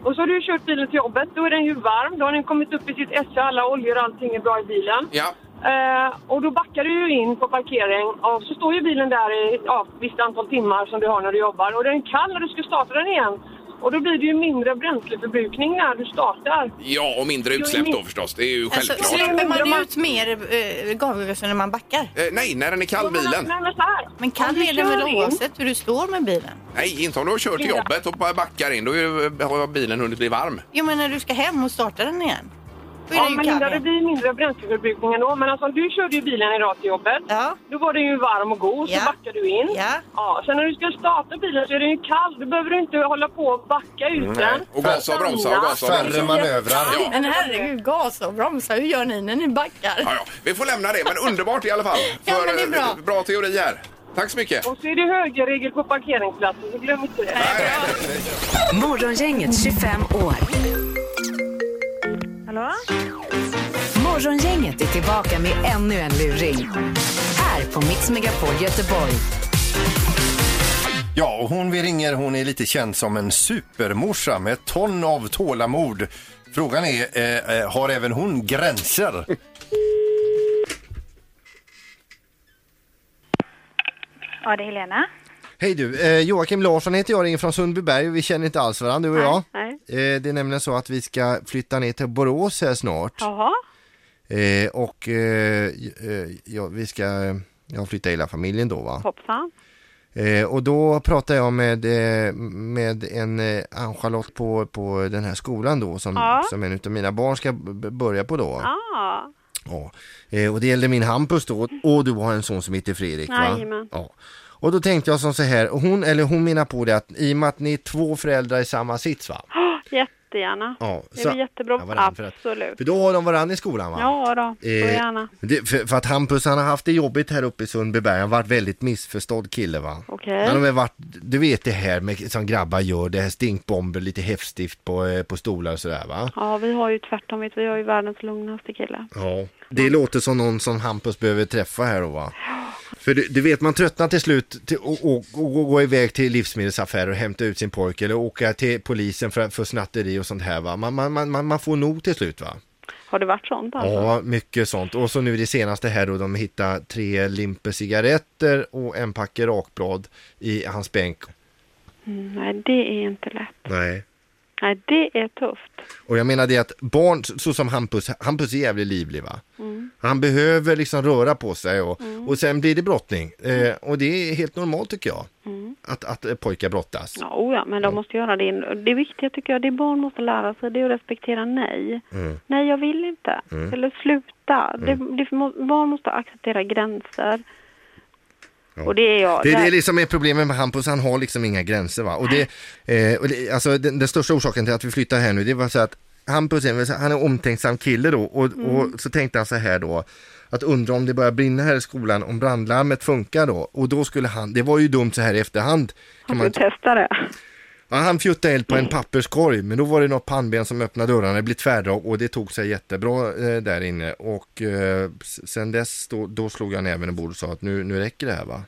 Speaker 7: Och så har du kört bilen till jobbet, då är den ju varm, då har den kommit upp i sitt esse, alla oljor och allting är bra i bilen.
Speaker 2: Ja.
Speaker 7: Eh, och då backar du ju in på parkering och så står ju bilen där i ja, ett visst antal timmar som du har när du jobbar och den är kall när du ska starta den igen. Och då blir det ju mindre bränsleförbrukning när du startar.
Speaker 2: Ja, och mindre
Speaker 7: Jo,
Speaker 2: utsläpp
Speaker 7: min-
Speaker 2: då förstås. Det är ju
Speaker 4: Alltså,
Speaker 2: självklart.
Speaker 4: släpper man ut mer eh, gasgaser när man backar?
Speaker 2: Eh, nej, när den är kall bilen.
Speaker 7: men så här.
Speaker 4: Men kall är den väl oavsett hur du står med bilen?
Speaker 2: Nej, inte om du har kört till
Speaker 4: Ja.
Speaker 2: jobbet och bara backar in. Då är ju- har bilen hunnit bli varm.
Speaker 4: Jo, men när du ska hem och starta den igen. Då är
Speaker 7: Ja,
Speaker 4: den ju
Speaker 7: men
Speaker 4: kall
Speaker 7: Linda, det
Speaker 4: igen.
Speaker 7: blir mindre bränsleförbrukning ändå. Men alltså, du körde ju bilen idag till jobbet. Då var den ju varm och god, så
Speaker 4: Ja.
Speaker 7: backade du in.
Speaker 4: Ja.
Speaker 7: Sen när du ska starta bilen så är den ju kall. Då behöver du inte hålla på och backa ut den.
Speaker 2: Mm, Och gasa och bromsa och gasa och
Speaker 3: Färre
Speaker 2: bromsa.
Speaker 3: manövrar.
Speaker 2: Ja.
Speaker 4: Men herregud, gasa och bromsa, hur gör ni när ni backar?
Speaker 2: Ja, ja. Vi får lämna det, men underbart i alla fall.
Speaker 4: Ja, men det är
Speaker 2: eh,
Speaker 4: bra.
Speaker 2: bra teori här. Tack så mycket.
Speaker 7: Och så är det högerregel på parkeringsplatsen, så glöm inte det.
Speaker 1: Morgongänget 25 år.
Speaker 12: Hallå?
Speaker 1: Morgongänget är tillbaka med ännu en luring. Här på Mix Megapol Göteborg.
Speaker 3: Ja, och hon vi ringer hon är lite känd som en supermorsa med ett ton av tålamod. Frågan är, eh, eh, har även hon gränser?
Speaker 12: Ja, det är Helena.
Speaker 13: Hej du, eh, Joakim Larsson heter jag, ringer från Sundbyberg och vi känner inte alls varandra du och jag.
Speaker 12: Nej,
Speaker 13: Eh, det är nämligen så att vi ska flytta ner till Borås här snart.
Speaker 12: Jaha.
Speaker 13: Eh, och eh, j- eh, ja, vi ska, eh, ja flytta hela familjen då va.
Speaker 12: Hoppsan.
Speaker 13: Eh, och då pratade jag med, eh, med en eh, Ann-Charlotte på, på den här skolan då som,
Speaker 12: Ja.
Speaker 13: som en av mina barn ska b- börja på då.
Speaker 12: Ja.
Speaker 13: Ja. Eh, och det gällde min Hampus då och du har en son som heter Fredrik va?
Speaker 12: Jajamän.
Speaker 13: Ja. Och då tänkte jag som så här, och hon eller hon menar på det att i och med att ni är två föräldrar i samma sits va?
Speaker 12: Oh, jättegärna.
Speaker 13: Ja,
Speaker 12: Det blir jättebra.
Speaker 13: Ja, varann för att-
Speaker 12: Absolut.
Speaker 13: För då har de varandra i skolan va?
Speaker 12: Ja då, så
Speaker 13: Eh,
Speaker 12: gärna.
Speaker 13: Det, för, för att Hampus han har haft det jobbigt här uppe i Sundbyberg, han har varit väldigt missförstådd kille va.
Speaker 12: Okej.
Speaker 13: Han har väl varit, du vet det här med, som grabbar gör, det här stinkbomber, lite häftstift på, eh, på stolar och sådär va.
Speaker 12: Ja, vi har ju tvärtom. Vet, du, vi har ju världens lugnaste kille.
Speaker 13: Ja, det låter som någon som Hampus behöver träffa här då va? För du, du vet man tröttnar till slut till, och, och, och, och gå iväg till livsmedelsaffärer och hämta ut sin pojke eller åka till polisen för, för snatteri och sånt här va. Man, man, man, man- man får nog till slut va?
Speaker 12: Har det varit sånt alltså?
Speaker 13: Ja, mycket sånt. Och så nu det senaste här då de hittar tre limper cigaretter och en packe rakblad i hans bänk.
Speaker 12: Mm, nej, det är inte lätt.
Speaker 13: Nej.
Speaker 12: Nej, det är tufft.
Speaker 13: Och jag menar det att barn, så så som Hampus, Hampus är jävligt livlig va?
Speaker 12: Mm.
Speaker 13: Han behöver liksom röra på sig och,
Speaker 12: Mm.
Speaker 13: och sen blir det brottning. Eh, och det är helt normalt tycker jag,
Speaker 12: Mm.
Speaker 13: att, att eh, pojkar brottas.
Speaker 12: Ja, oh ja, men de måste göra det. in- Det viktiga tycker jag, det barn måste lära sig, det är att respektera nej.
Speaker 13: Mm.
Speaker 12: Nej, jag vill inte.
Speaker 13: Mm.
Speaker 12: Eller sluta.
Speaker 13: Mm.
Speaker 12: Det, det, må- barn måste acceptera gränser.
Speaker 13: Ja.
Speaker 12: Och det är jag.
Speaker 13: Det, det är
Speaker 12: Där-
Speaker 13: liksom är problemet med Hampus, han har liksom inga gränser va. Och det, eh, och det, alltså den, den största orsaken till att vi flyttar här nu, det var så att Hampus är en- han är en omtänksam kille då och,
Speaker 12: Mm.
Speaker 13: och så tänkte han så här då, att undra om det börjar brinna här i skolan, om brandlarmet funkar då. Och då skulle han, det var ju dumt så här i efterhand. Kan
Speaker 12: Han får testa det.
Speaker 13: Ja, han fjuttade eld på en papperskorg, men då var det något pannben som öppnade dörrarna, det blev tvärdrag och det tog sig jättebra eh, där inne. Och eh, s- sen dess då, då slog jag näven i bordet och sa att nu, nu räcker det här va.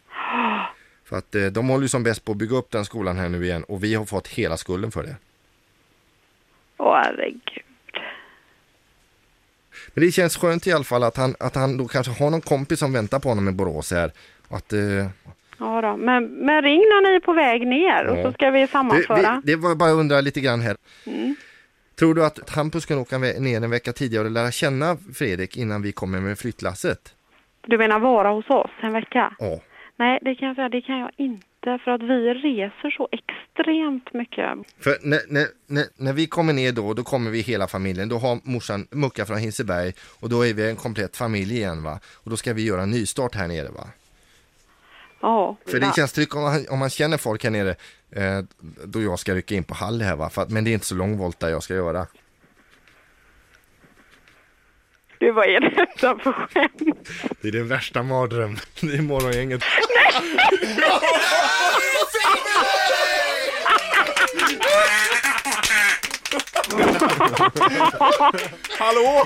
Speaker 13: För att eh, de håller ju som bäst på att bygga upp den skolan här nu igen och vi har fått hela skulden för det.
Speaker 12: Åh, herregud.
Speaker 13: Men det känns skönt i alla fall att han, att han då kanske har någon kompis som väntar på honom i Borås här. Och att, eh,
Speaker 12: Ja då. Men, men ring när ni är på väg ner och
Speaker 13: Ja.
Speaker 12: så ska vi sammanföra.
Speaker 13: Det, det, det var bara jag undrar lite grann här.
Speaker 12: Mm.
Speaker 13: Tror du att Hampus kan åka ve- ner en vecka tidigare och lära känna Fredrik innan vi kommer med flyttlasset?
Speaker 12: Du menar vara hos oss en vecka?
Speaker 13: Ja.
Speaker 12: Nej, det kan jag säga, det kan jag inte för att vi reser så extremt mycket.
Speaker 13: För när, när, när, när vi kommer ner då, då kommer vi hela familjen. Då har morsan Mucka från Hinseberg och då är vi en komplett familj igen va. Och då ska vi göra en nystart här nere va.
Speaker 12: Ja.
Speaker 13: För
Speaker 12: Ja.
Speaker 13: det känns tryggt om man, om man känner folk här nere eh, då jag ska rycka in på Hall här va. För att, men det är inte så lång volta jag ska göra.
Speaker 12: Du, vad är detta för skämt?
Speaker 13: Det är den värsta mardrömmen. Det är morgongänget.
Speaker 2: Hallå?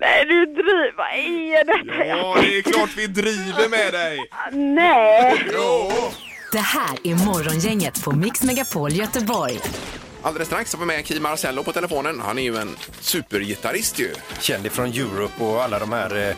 Speaker 12: Nej, du driver. Vad är detta?
Speaker 2: Ja, det är klart vi driver med dig!
Speaker 12: Nej!
Speaker 1: Det här är Morgongänget på Mix Megapol Göteborg.
Speaker 2: Alldeles strax har vi med Kim Marcello på telefonen. Han är ju en supergitarrist ju.
Speaker 3: Känd ifrån Europe och alla de här eh,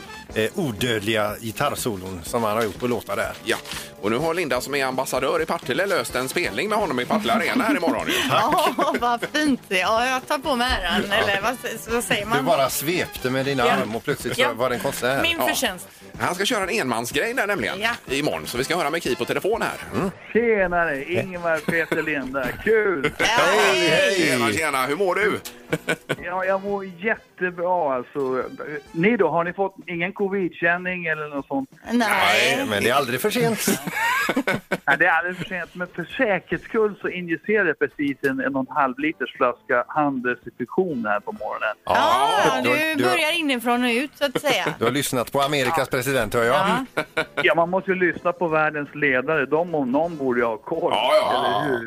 Speaker 3: eh, odödliga gitarrsolon som han har gjort på låtar där.
Speaker 2: Ja, och nu har Linda som är ambassadör i Partille löst en spelning med honom i Partille Arena här imorgon. ju.
Speaker 4: Ja, vad fint. Ja, jag tar på mig äran. Eller vad, s- vad säger
Speaker 3: Du
Speaker 4: man?
Speaker 3: bara svepte med dina
Speaker 4: Ja.
Speaker 3: armar och plötsligt så
Speaker 4: Ja.
Speaker 3: var det en konsert.
Speaker 4: Min förtjänst.
Speaker 2: Han ska köra en enmansgrej där nämligen
Speaker 4: Ja.
Speaker 2: imorgon. Så vi ska höra med Ki på telefon här.
Speaker 3: Mm.
Speaker 14: Tjenare, Ingvar, Peter, Linda. Kul!
Speaker 2: Hej, hej! Tjena, tjena! Hur mår du?
Speaker 14: Ja, jag mår jättebra alltså. Ni då, har ni fått ingen covid-känning eller något sånt?
Speaker 4: Nej.
Speaker 3: Men det är aldrig för sent.
Speaker 14: Nej, det är alldeles för sent. Men för säkerhets skull så injicerade jag precis en en och en halv liters flaska handelsdiskussion här på morgonen.
Speaker 4: Ja,
Speaker 3: Du-
Speaker 4: du
Speaker 3: du-
Speaker 4: börjar inifrån och ut så att säga.
Speaker 3: Du har lyssnat på Amerikas president hör jag.
Speaker 4: Ja.
Speaker 14: Ja, man måste ju lyssna på världens ledare. De om någon borde ju ha koll.
Speaker 2: Ja,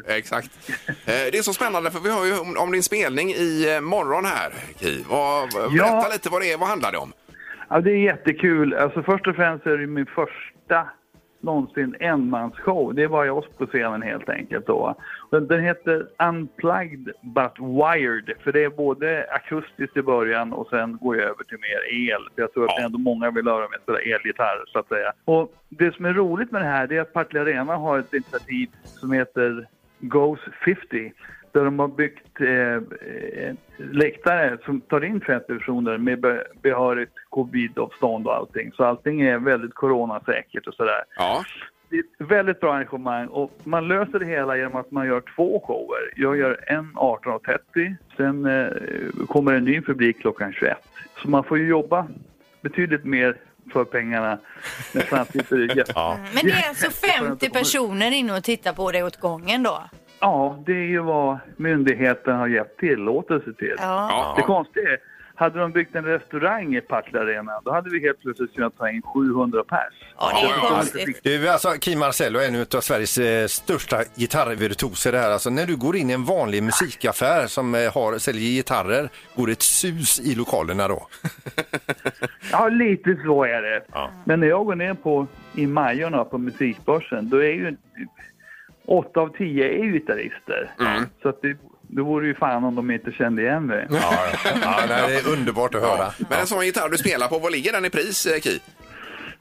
Speaker 2: ja, exakt. Eh, Det är så spännande för vi har ju om, om din spelning i eh, morgon här, Ki. Vad, Berätta lite vad det är, vad handlar det om?
Speaker 14: Ja, det är jättekul. Alltså, först och främst är det min första någonsin enmansshow. Det är bara jag på scenen helt enkelt. Då. Den, den heter Unplugged but Wired. För det är både akustiskt i början och sen går jag över till mer el. För jag tror att ändå många vill höra mig spela elgitarr så att säga. Och det som är roligt med det här det är att Partille Arena har ett initiativ som heter Goes 50. Där de har byggt eh, eh, läktare som tar in 50 personer med be- behörigt covidavstånd och allting. Så allting är väldigt coronasäkert och sådär.
Speaker 2: Ja.
Speaker 14: Det är ett väldigt bra arrangemang och man löser det hela genom att man gör två shower. Jag gör en 18.30, sen eh, kommer en ny publik klockan 21. Så man får ju jobba betydligt mer för pengarna, men samtidigt är det jätte...
Speaker 4: Men det är alltså 50 personer inne och tittar på dig åt gången då?
Speaker 14: Ja, det är ju vad myndigheten har gett tillåtelse till.
Speaker 4: Ja. Ja.
Speaker 14: Det konstiga är, hade de byggt en restaurang i Partille Arena, då hade vi helt plötsligt kunnat ta in 700 pers.
Speaker 3: Du, alltså, Kim Marcello är en av Sveriges eh, största gitarrvirtuoser. det Här. Alltså, när du går in i en vanlig musikaffär som eh, har, säljer gitarrer, går det ett sus i lokalerna då?
Speaker 14: Ja, lite så är det. Men när jag går ner på, i Majorna på musikbörsen, då är ju åtta av tio är ju gitarrister. Så att det, det vore ju fan om de inte kände igen mig.
Speaker 3: Ja, nej, det är underbart att höra.
Speaker 2: Men en sån gitarr du spelar på, vad ligger den i pris, eh, Ki?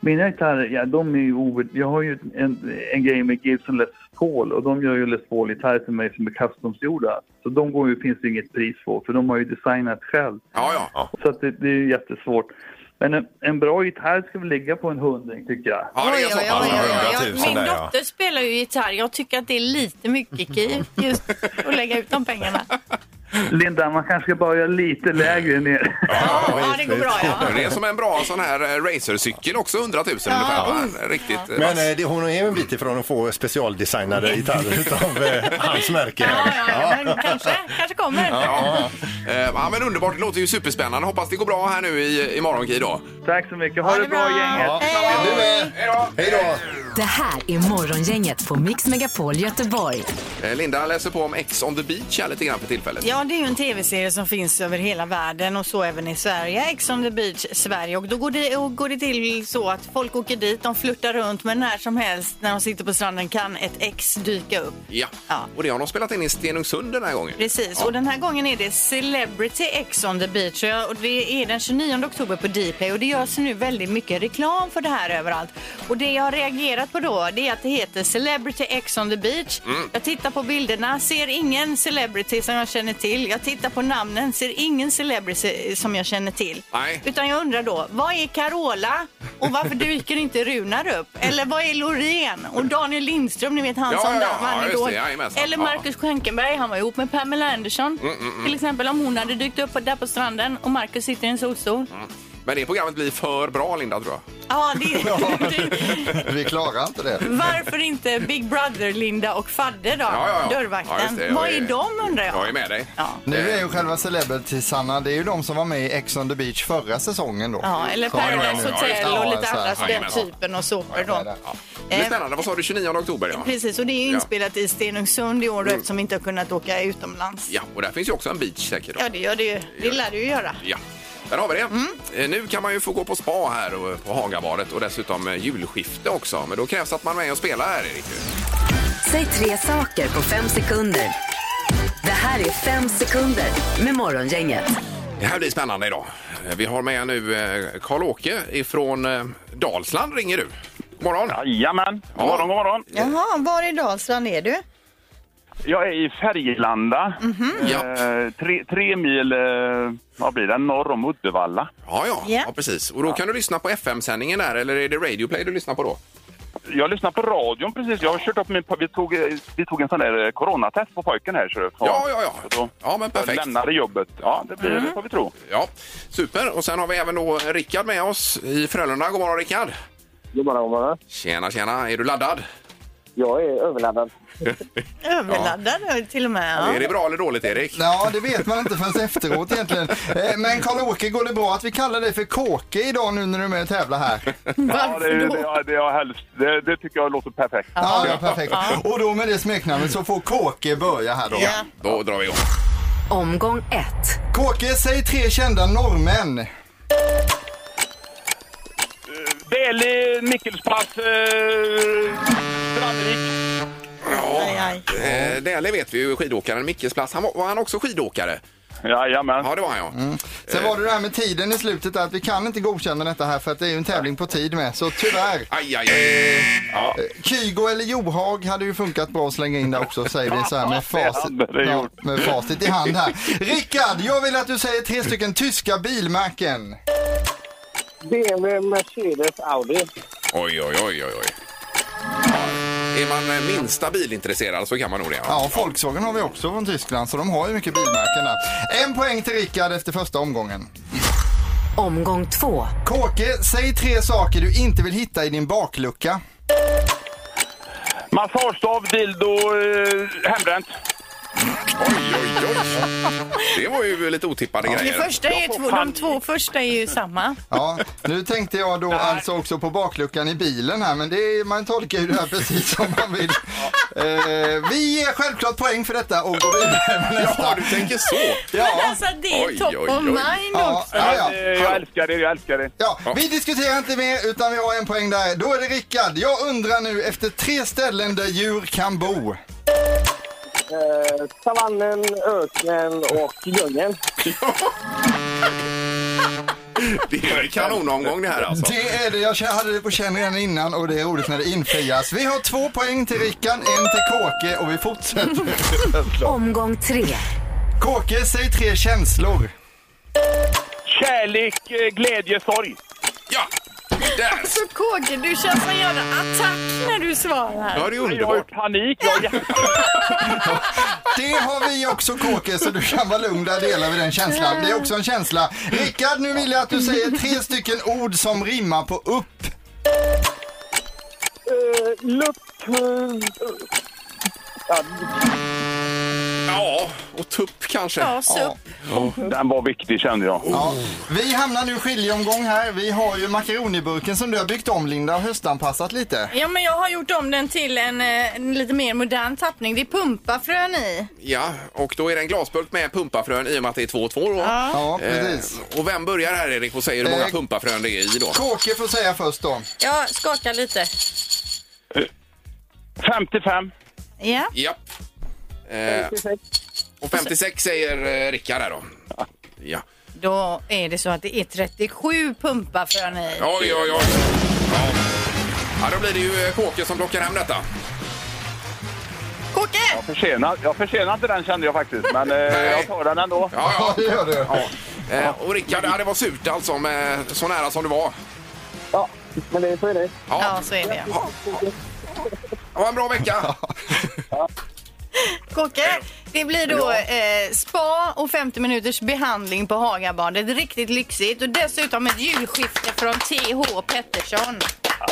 Speaker 14: Mina gitarrer, ja, de är ju ovärd... Jag har ju en, en grej med Gibson Les Paul och de gör ju Les Paul-gitarrer till mig som är customsgjorda. Så de går ju, finns det inget pris på för de har ju designat själv.
Speaker 2: Ja, ja.
Speaker 14: Så att det, det är ju jättesvårt. Men en, en bra gitarr ska väl ligga på en hundring tycker jag.
Speaker 2: Ja,
Speaker 4: det är så. Oj, oj, oj, oj, oj. Min
Speaker 14: där, ja.
Speaker 4: dotter spelar ju gitarr. Jag tycker att det är lite mycket Ki, just att lägga ut de pengarna.
Speaker 14: Linda, man kanske ska börja lite lägre ner.
Speaker 4: Ja, det går bra ja.
Speaker 2: Det är som en bra sån här eh, racercykel också, 100 000 ungefär. va? Riktigt. eh,
Speaker 3: Men eh, det, hon är en bit ifrån att få specialdesignade gitarrer utav eh, hans märke.
Speaker 4: Men kanske, kanske kommer.
Speaker 2: Ja. Eh, ja, men underbart. Det låter ju superspännande. Hoppas det går bra här nu i, imorgon, Ki, då.
Speaker 14: Tack så mycket. Ha, det bra, gänget.
Speaker 2: Hej då!
Speaker 3: Hej då!
Speaker 1: Det här är Morgongänget på Mix Megapol Göteborg.
Speaker 2: Eh, Linda läser på om Ex on the beach här lite grann för tillfället.
Speaker 4: Ja, det är ju en tv-serie som finns över hela världen och så även i Sverige. Ex on the beach Sverige. Och då går det, och går det till så att folk åker dit, de flörtar runt, men när som helst när de sitter på stranden kan ett ex dyka upp.
Speaker 2: Ja. och det har de spelat in i Stenungsund den här gången.
Speaker 4: Precis, och den här gången är det Celebrity Ex on the beach. Och jag- Och det är den 29 oktober på Dplay och det görs nu väldigt mycket reklam för det här överallt. Och det jag har reagerat på då, det är att det heter Celebrity Ex on the beach.
Speaker 6: Mm.
Speaker 4: Jag tittar på bilderna, ser ingen celebrity som jag känner till. Jag tittar på namnen, ser ingen celebrity som jag känner till.
Speaker 2: Nej.
Speaker 4: Utan jag undrar då, vad är Carola? Och varför dyker inte Runar upp? Eller vad är Loreen? Och Daniel Lindström, ni vet han
Speaker 2: Ja,
Speaker 4: som
Speaker 2: ja, ja,
Speaker 4: vann
Speaker 2: ja, just
Speaker 4: Idol.
Speaker 2: det, jajamensan.
Speaker 4: Eller
Speaker 2: Ja.
Speaker 4: Marcus Schenkenberg, han var ihop med Pamela Anderson.
Speaker 2: Mm, mm, mm.
Speaker 4: Till exempel om hon hade dykt upp där på stranden och Marcus sitter i en solstol.
Speaker 2: Men det programmet blir för bra, Linda, tror jag.
Speaker 4: Ja, det,
Speaker 9: Vi klarar inte det.
Speaker 4: varför inte Big Brother, Linda och Fadde då?
Speaker 9: Ja, ja, ja.
Speaker 4: Dörrvakten.
Speaker 9: Ja, just det. Jag
Speaker 4: Vad
Speaker 9: är-
Speaker 4: är de undrar jag?
Speaker 9: jag är
Speaker 2: med dig.
Speaker 9: Nu
Speaker 2: Eh.
Speaker 9: är ju själva celebritiesarna, det är ju de som var med i Ex on the beach förra säsongen då.
Speaker 4: Ja, eller
Speaker 9: Som var med
Speaker 4: Paradise
Speaker 9: nu.
Speaker 4: Hotel
Speaker 9: Ja,
Speaker 4: och lite
Speaker 9: så här.
Speaker 4: andra typ den
Speaker 9: Jajamän.
Speaker 4: typen av såpor då.
Speaker 2: Det blir spännande. Vad sa du? 29 oktober, ja.
Speaker 4: Precis, och det är ju
Speaker 2: Ja.
Speaker 4: inspelat i Stenungsund i år då, eftersom vi inte har kunnat åka utomlands.
Speaker 2: Ja, och där finns ju också en beach säkert. Då.
Speaker 4: Ja, det gör det ju. Det lär du ju göra.
Speaker 2: Ja. Där har vi det. Eh, Nu kan man ju få gå på spa här och- eh, på Hagabadet och dessutom eh, julskifte också. Men då krävs att man är med och spelar här, Erik.
Speaker 1: Säg tre saker på fem sekunder. Det här är fem sekunder med Morgongänget.
Speaker 2: Det här blir spännande idag. Eh, Vi har med nu eh, Karl-Åke ifrån eh, Dalsland ringer du. God morgon.
Speaker 15: Jajamän. God morgon, god morgon.
Speaker 4: Jaha, var i Dalsland är du?
Speaker 15: Jag är i Färgelanda.
Speaker 2: Mhm.
Speaker 15: Eh, tre, tre mil, eh, vad blir det, norr om Uddevalla.
Speaker 2: Ja, ja,
Speaker 15: Ja.
Speaker 2: ja precis. Och då kan du lyssna på FM-sändningen där, eller är det Radio Play du lyssnar på då?
Speaker 15: Jag lyssnar på radion precis. Jag har kört upp min... Vi tog, eh, vi tog en sån där eh, coronatest på pojken här. Så ja,
Speaker 2: Ja, ja, ja.
Speaker 15: Då,
Speaker 2: ja, men perfekt. Mm.
Speaker 15: Jag lämnade jobbet. Ja, det blir det får vi tro.
Speaker 2: Ja, super. Och sen har vi även då Rickard med oss i Frölunda. God morgon Rickard!
Speaker 16: God morgon, god morgon.
Speaker 2: Tjena, tjena. Är du laddad?
Speaker 16: Jag är överladdad.
Speaker 4: Överladdad till och med.
Speaker 2: Är det bra eller dåligt Erik?
Speaker 9: Ja, det vet man inte förrän efteråt egentligen. Eh, Men Karl-Åke, går det bra att vi kallar dig för Kåke idag nu när du är med och tävlar här?
Speaker 15: Ja, det, det, det, det, jag helst, det, det tycker jag låter perfekt.
Speaker 9: Ja, ja, perfekt. Och då med det smeknamnet så får Kåke börja här då.
Speaker 2: Ja. Då drar vi igång.
Speaker 1: Omgång 1.
Speaker 9: Kåke, säg tre kända norrmän.
Speaker 15: Delhi, Mikkelspass, eh, Strandvik.
Speaker 2: Eh, Dählie vet vi ju, skidåkaren Mickelsplats. Han var, var han också skidåkare?
Speaker 15: Jajamän.
Speaker 2: Ja, det var han ja.
Speaker 9: Mm.
Speaker 2: Eh.
Speaker 9: Sen var det det här med tiden i slutet där, att vi kan inte godkänna detta här för att det är ju en tävling på tid med, så tyvärr.
Speaker 2: Aj, aj, aj. Ja.
Speaker 9: Eh, Kygo eller Johag hade ju funkat bra att slänga in där också, säger vi så här med facit,
Speaker 15: hade det
Speaker 9: ja,
Speaker 15: gjort.
Speaker 9: med facit i hand här. Rickard, jag vill att du säger tre stycken tyska bilmärken.
Speaker 16: BMW, Mercedes, Audi.
Speaker 2: Oj, oj, oj, oj, oj. Ja. Är man eh, minsta bilintresserad så kan man nog det.
Speaker 9: Ja, Volkswagen har vi också från Tyskland, så de har ju mycket bilmärken där. En poäng till Rickard efter första omgången.
Speaker 1: Omgång två.
Speaker 9: Kåke, säg tre saker du inte vill hitta i din baklucka.
Speaker 15: Massagestav, dildo, eh, hembränt.
Speaker 2: Oj, oj, oj. Det var ju lite otippade
Speaker 4: Det
Speaker 2: grejer.
Speaker 4: första är två, de två första är ju samma.
Speaker 9: Ja, nu tänkte jag då alltså också på bakluckan i bilen här, men det är, man tolkar ju det här precis som man vill. Eh, vi ger självklart poäng för detta och går vidare med nästa.
Speaker 2: Ja, du tänker så.
Speaker 9: Ja.
Speaker 4: Men alltså det är
Speaker 9: Oj,
Speaker 4: top
Speaker 9: oj,
Speaker 4: of
Speaker 9: oj.
Speaker 4: mind
Speaker 9: Ja,
Speaker 4: också.
Speaker 9: ja, ja.
Speaker 15: Eh, Jag älskar er, jag älskar er.
Speaker 9: Ja, vi diskuterar inte mer utan vi har en poäng där. Då är det Rickard. Jag undrar nu efter tre ställen där djur kan bo.
Speaker 16: Eh, savannen, öknen och djungeln.
Speaker 2: Det är en kanonomgång det här alltså.
Speaker 9: Det är det. Jag hade det på känn redan innan och det är roligt när det infrias. Vi har två poäng till Rickard, en till Kåke och vi fortsätter.
Speaker 1: Omgång tre.
Speaker 9: Kåke, säg tre känslor.
Speaker 15: Kärlek, eh, glädje, sorg.
Speaker 2: Ja!
Speaker 4: Alltså KG, du kör som en jävla attack när du svarar.
Speaker 2: Ja, det är
Speaker 15: underbart. Jag har ju panik. Jag har jätte-
Speaker 9: Det har vi också Kåke, så du kan vara lugn. Där delar vi den känslan. Det är också en känsla. Rickard, nu vill jag att du säger tre stycken ord som rimmar på upp.
Speaker 16: Eh, lupp... eh, ja,
Speaker 2: Ja, och tupp kanske.
Speaker 9: Ja, supp.
Speaker 14: Den var viktig kände jag.
Speaker 9: Ja. Vi hamnar nu i skiljeomgång här. Vi har ju makaroniburken som du har byggt om Linda och höstanpassat lite.
Speaker 4: Ja, men jag har gjort om den till en, eh, en lite mer modern tappning. Det är pumpafrön i.
Speaker 2: Ja, och då är det en glasburk med pumpafrön i och med att det är 2-2 då.
Speaker 4: Ja.
Speaker 9: Ja, precis.
Speaker 2: Eh, och vem börjar här Erik och säger hur många
Speaker 9: Eh,
Speaker 2: pumpafrön det är i då?
Speaker 9: Kåke får säga först då.
Speaker 4: Jag skakar lite.
Speaker 2: 55.
Speaker 4: Ja.
Speaker 2: Ja. Eh, och 56 säger eh, Rickard här då. Ja.
Speaker 4: Då är det så att det är 37 pumpafrön i.
Speaker 2: Oj, oj, oj. Ja. ja, då blir det ju eh, Kåke som plockar hem detta.
Speaker 14: Jag försenade, jag försenade inte den kände jag faktiskt, men eh, jag tar den ändå.
Speaker 2: Ja, ja.
Speaker 9: det gör du.
Speaker 2: Eh, och Rickard, ja, det var surt alltså med så nära som du var.
Speaker 17: Ja, men det, så är det.
Speaker 2: Ja.
Speaker 4: så är det.
Speaker 2: Ja. Ha en bra vecka!
Speaker 4: Kocke, det blir då eh, spa och 50 minuters behandling på Hagabadet. Riktigt lyxigt och dessutom ett julskifte från TH Pettersson.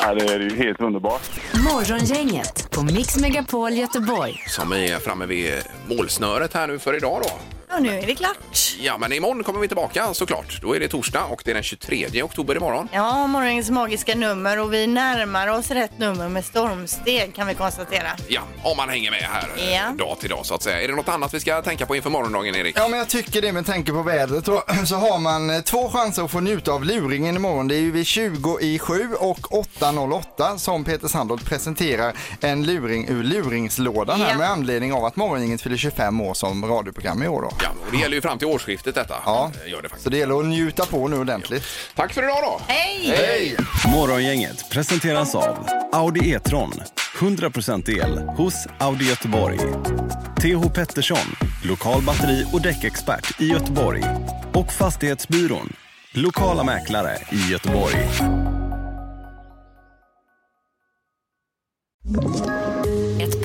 Speaker 14: Ja, det är ju helt underbart.
Speaker 1: Morgongänget på Mix Megapol Göteborg.
Speaker 2: Som är framme vid målsnöret här nu för idag då.
Speaker 4: Ja, nu är det klart.
Speaker 2: Ja, men imorgon kommer vi tillbaka såklart. Då är det torsdag och det är den 23 oktober imorgon.
Speaker 4: Ja, morgonens magiska nummer och vi närmar oss rätt nummer med stormsteg kan vi konstatera.
Speaker 2: Ja, om man hänger med här eh,
Speaker 4: Ja.
Speaker 2: dag till dag så att säga. Är det något annat vi ska tänka på inför morgondagen, Erik?
Speaker 9: Ja, men jag tycker det med tanke på vädret. Då, så har man eh, två chanser att få njuta av luringen imorgon. Det är ju vid 20 i 7 och 8.08 som Peter Sandholt presenterar en luring ur luringslådan här
Speaker 2: Ja.
Speaker 9: med anledning av att Morgongänget fyller 25 år som radioprogram i år då.
Speaker 2: Ja, och det gäller ju fram till årsskiftet detta.
Speaker 9: Ja.
Speaker 2: Eh, Gör det faktiskt.
Speaker 9: Så det gäller att njuta på nu ordentligt.
Speaker 2: Tack för idag då!
Speaker 4: Hej!
Speaker 2: Hej!
Speaker 18: Morgongänget presenteras av Audi E-tron. 100% el hos Audi Göteborg. TH Pettersson, lokal batteri och däckexpert i Göteborg. Och Fastighetsbyrån, lokala mäklare i Göteborg.
Speaker 19: Ett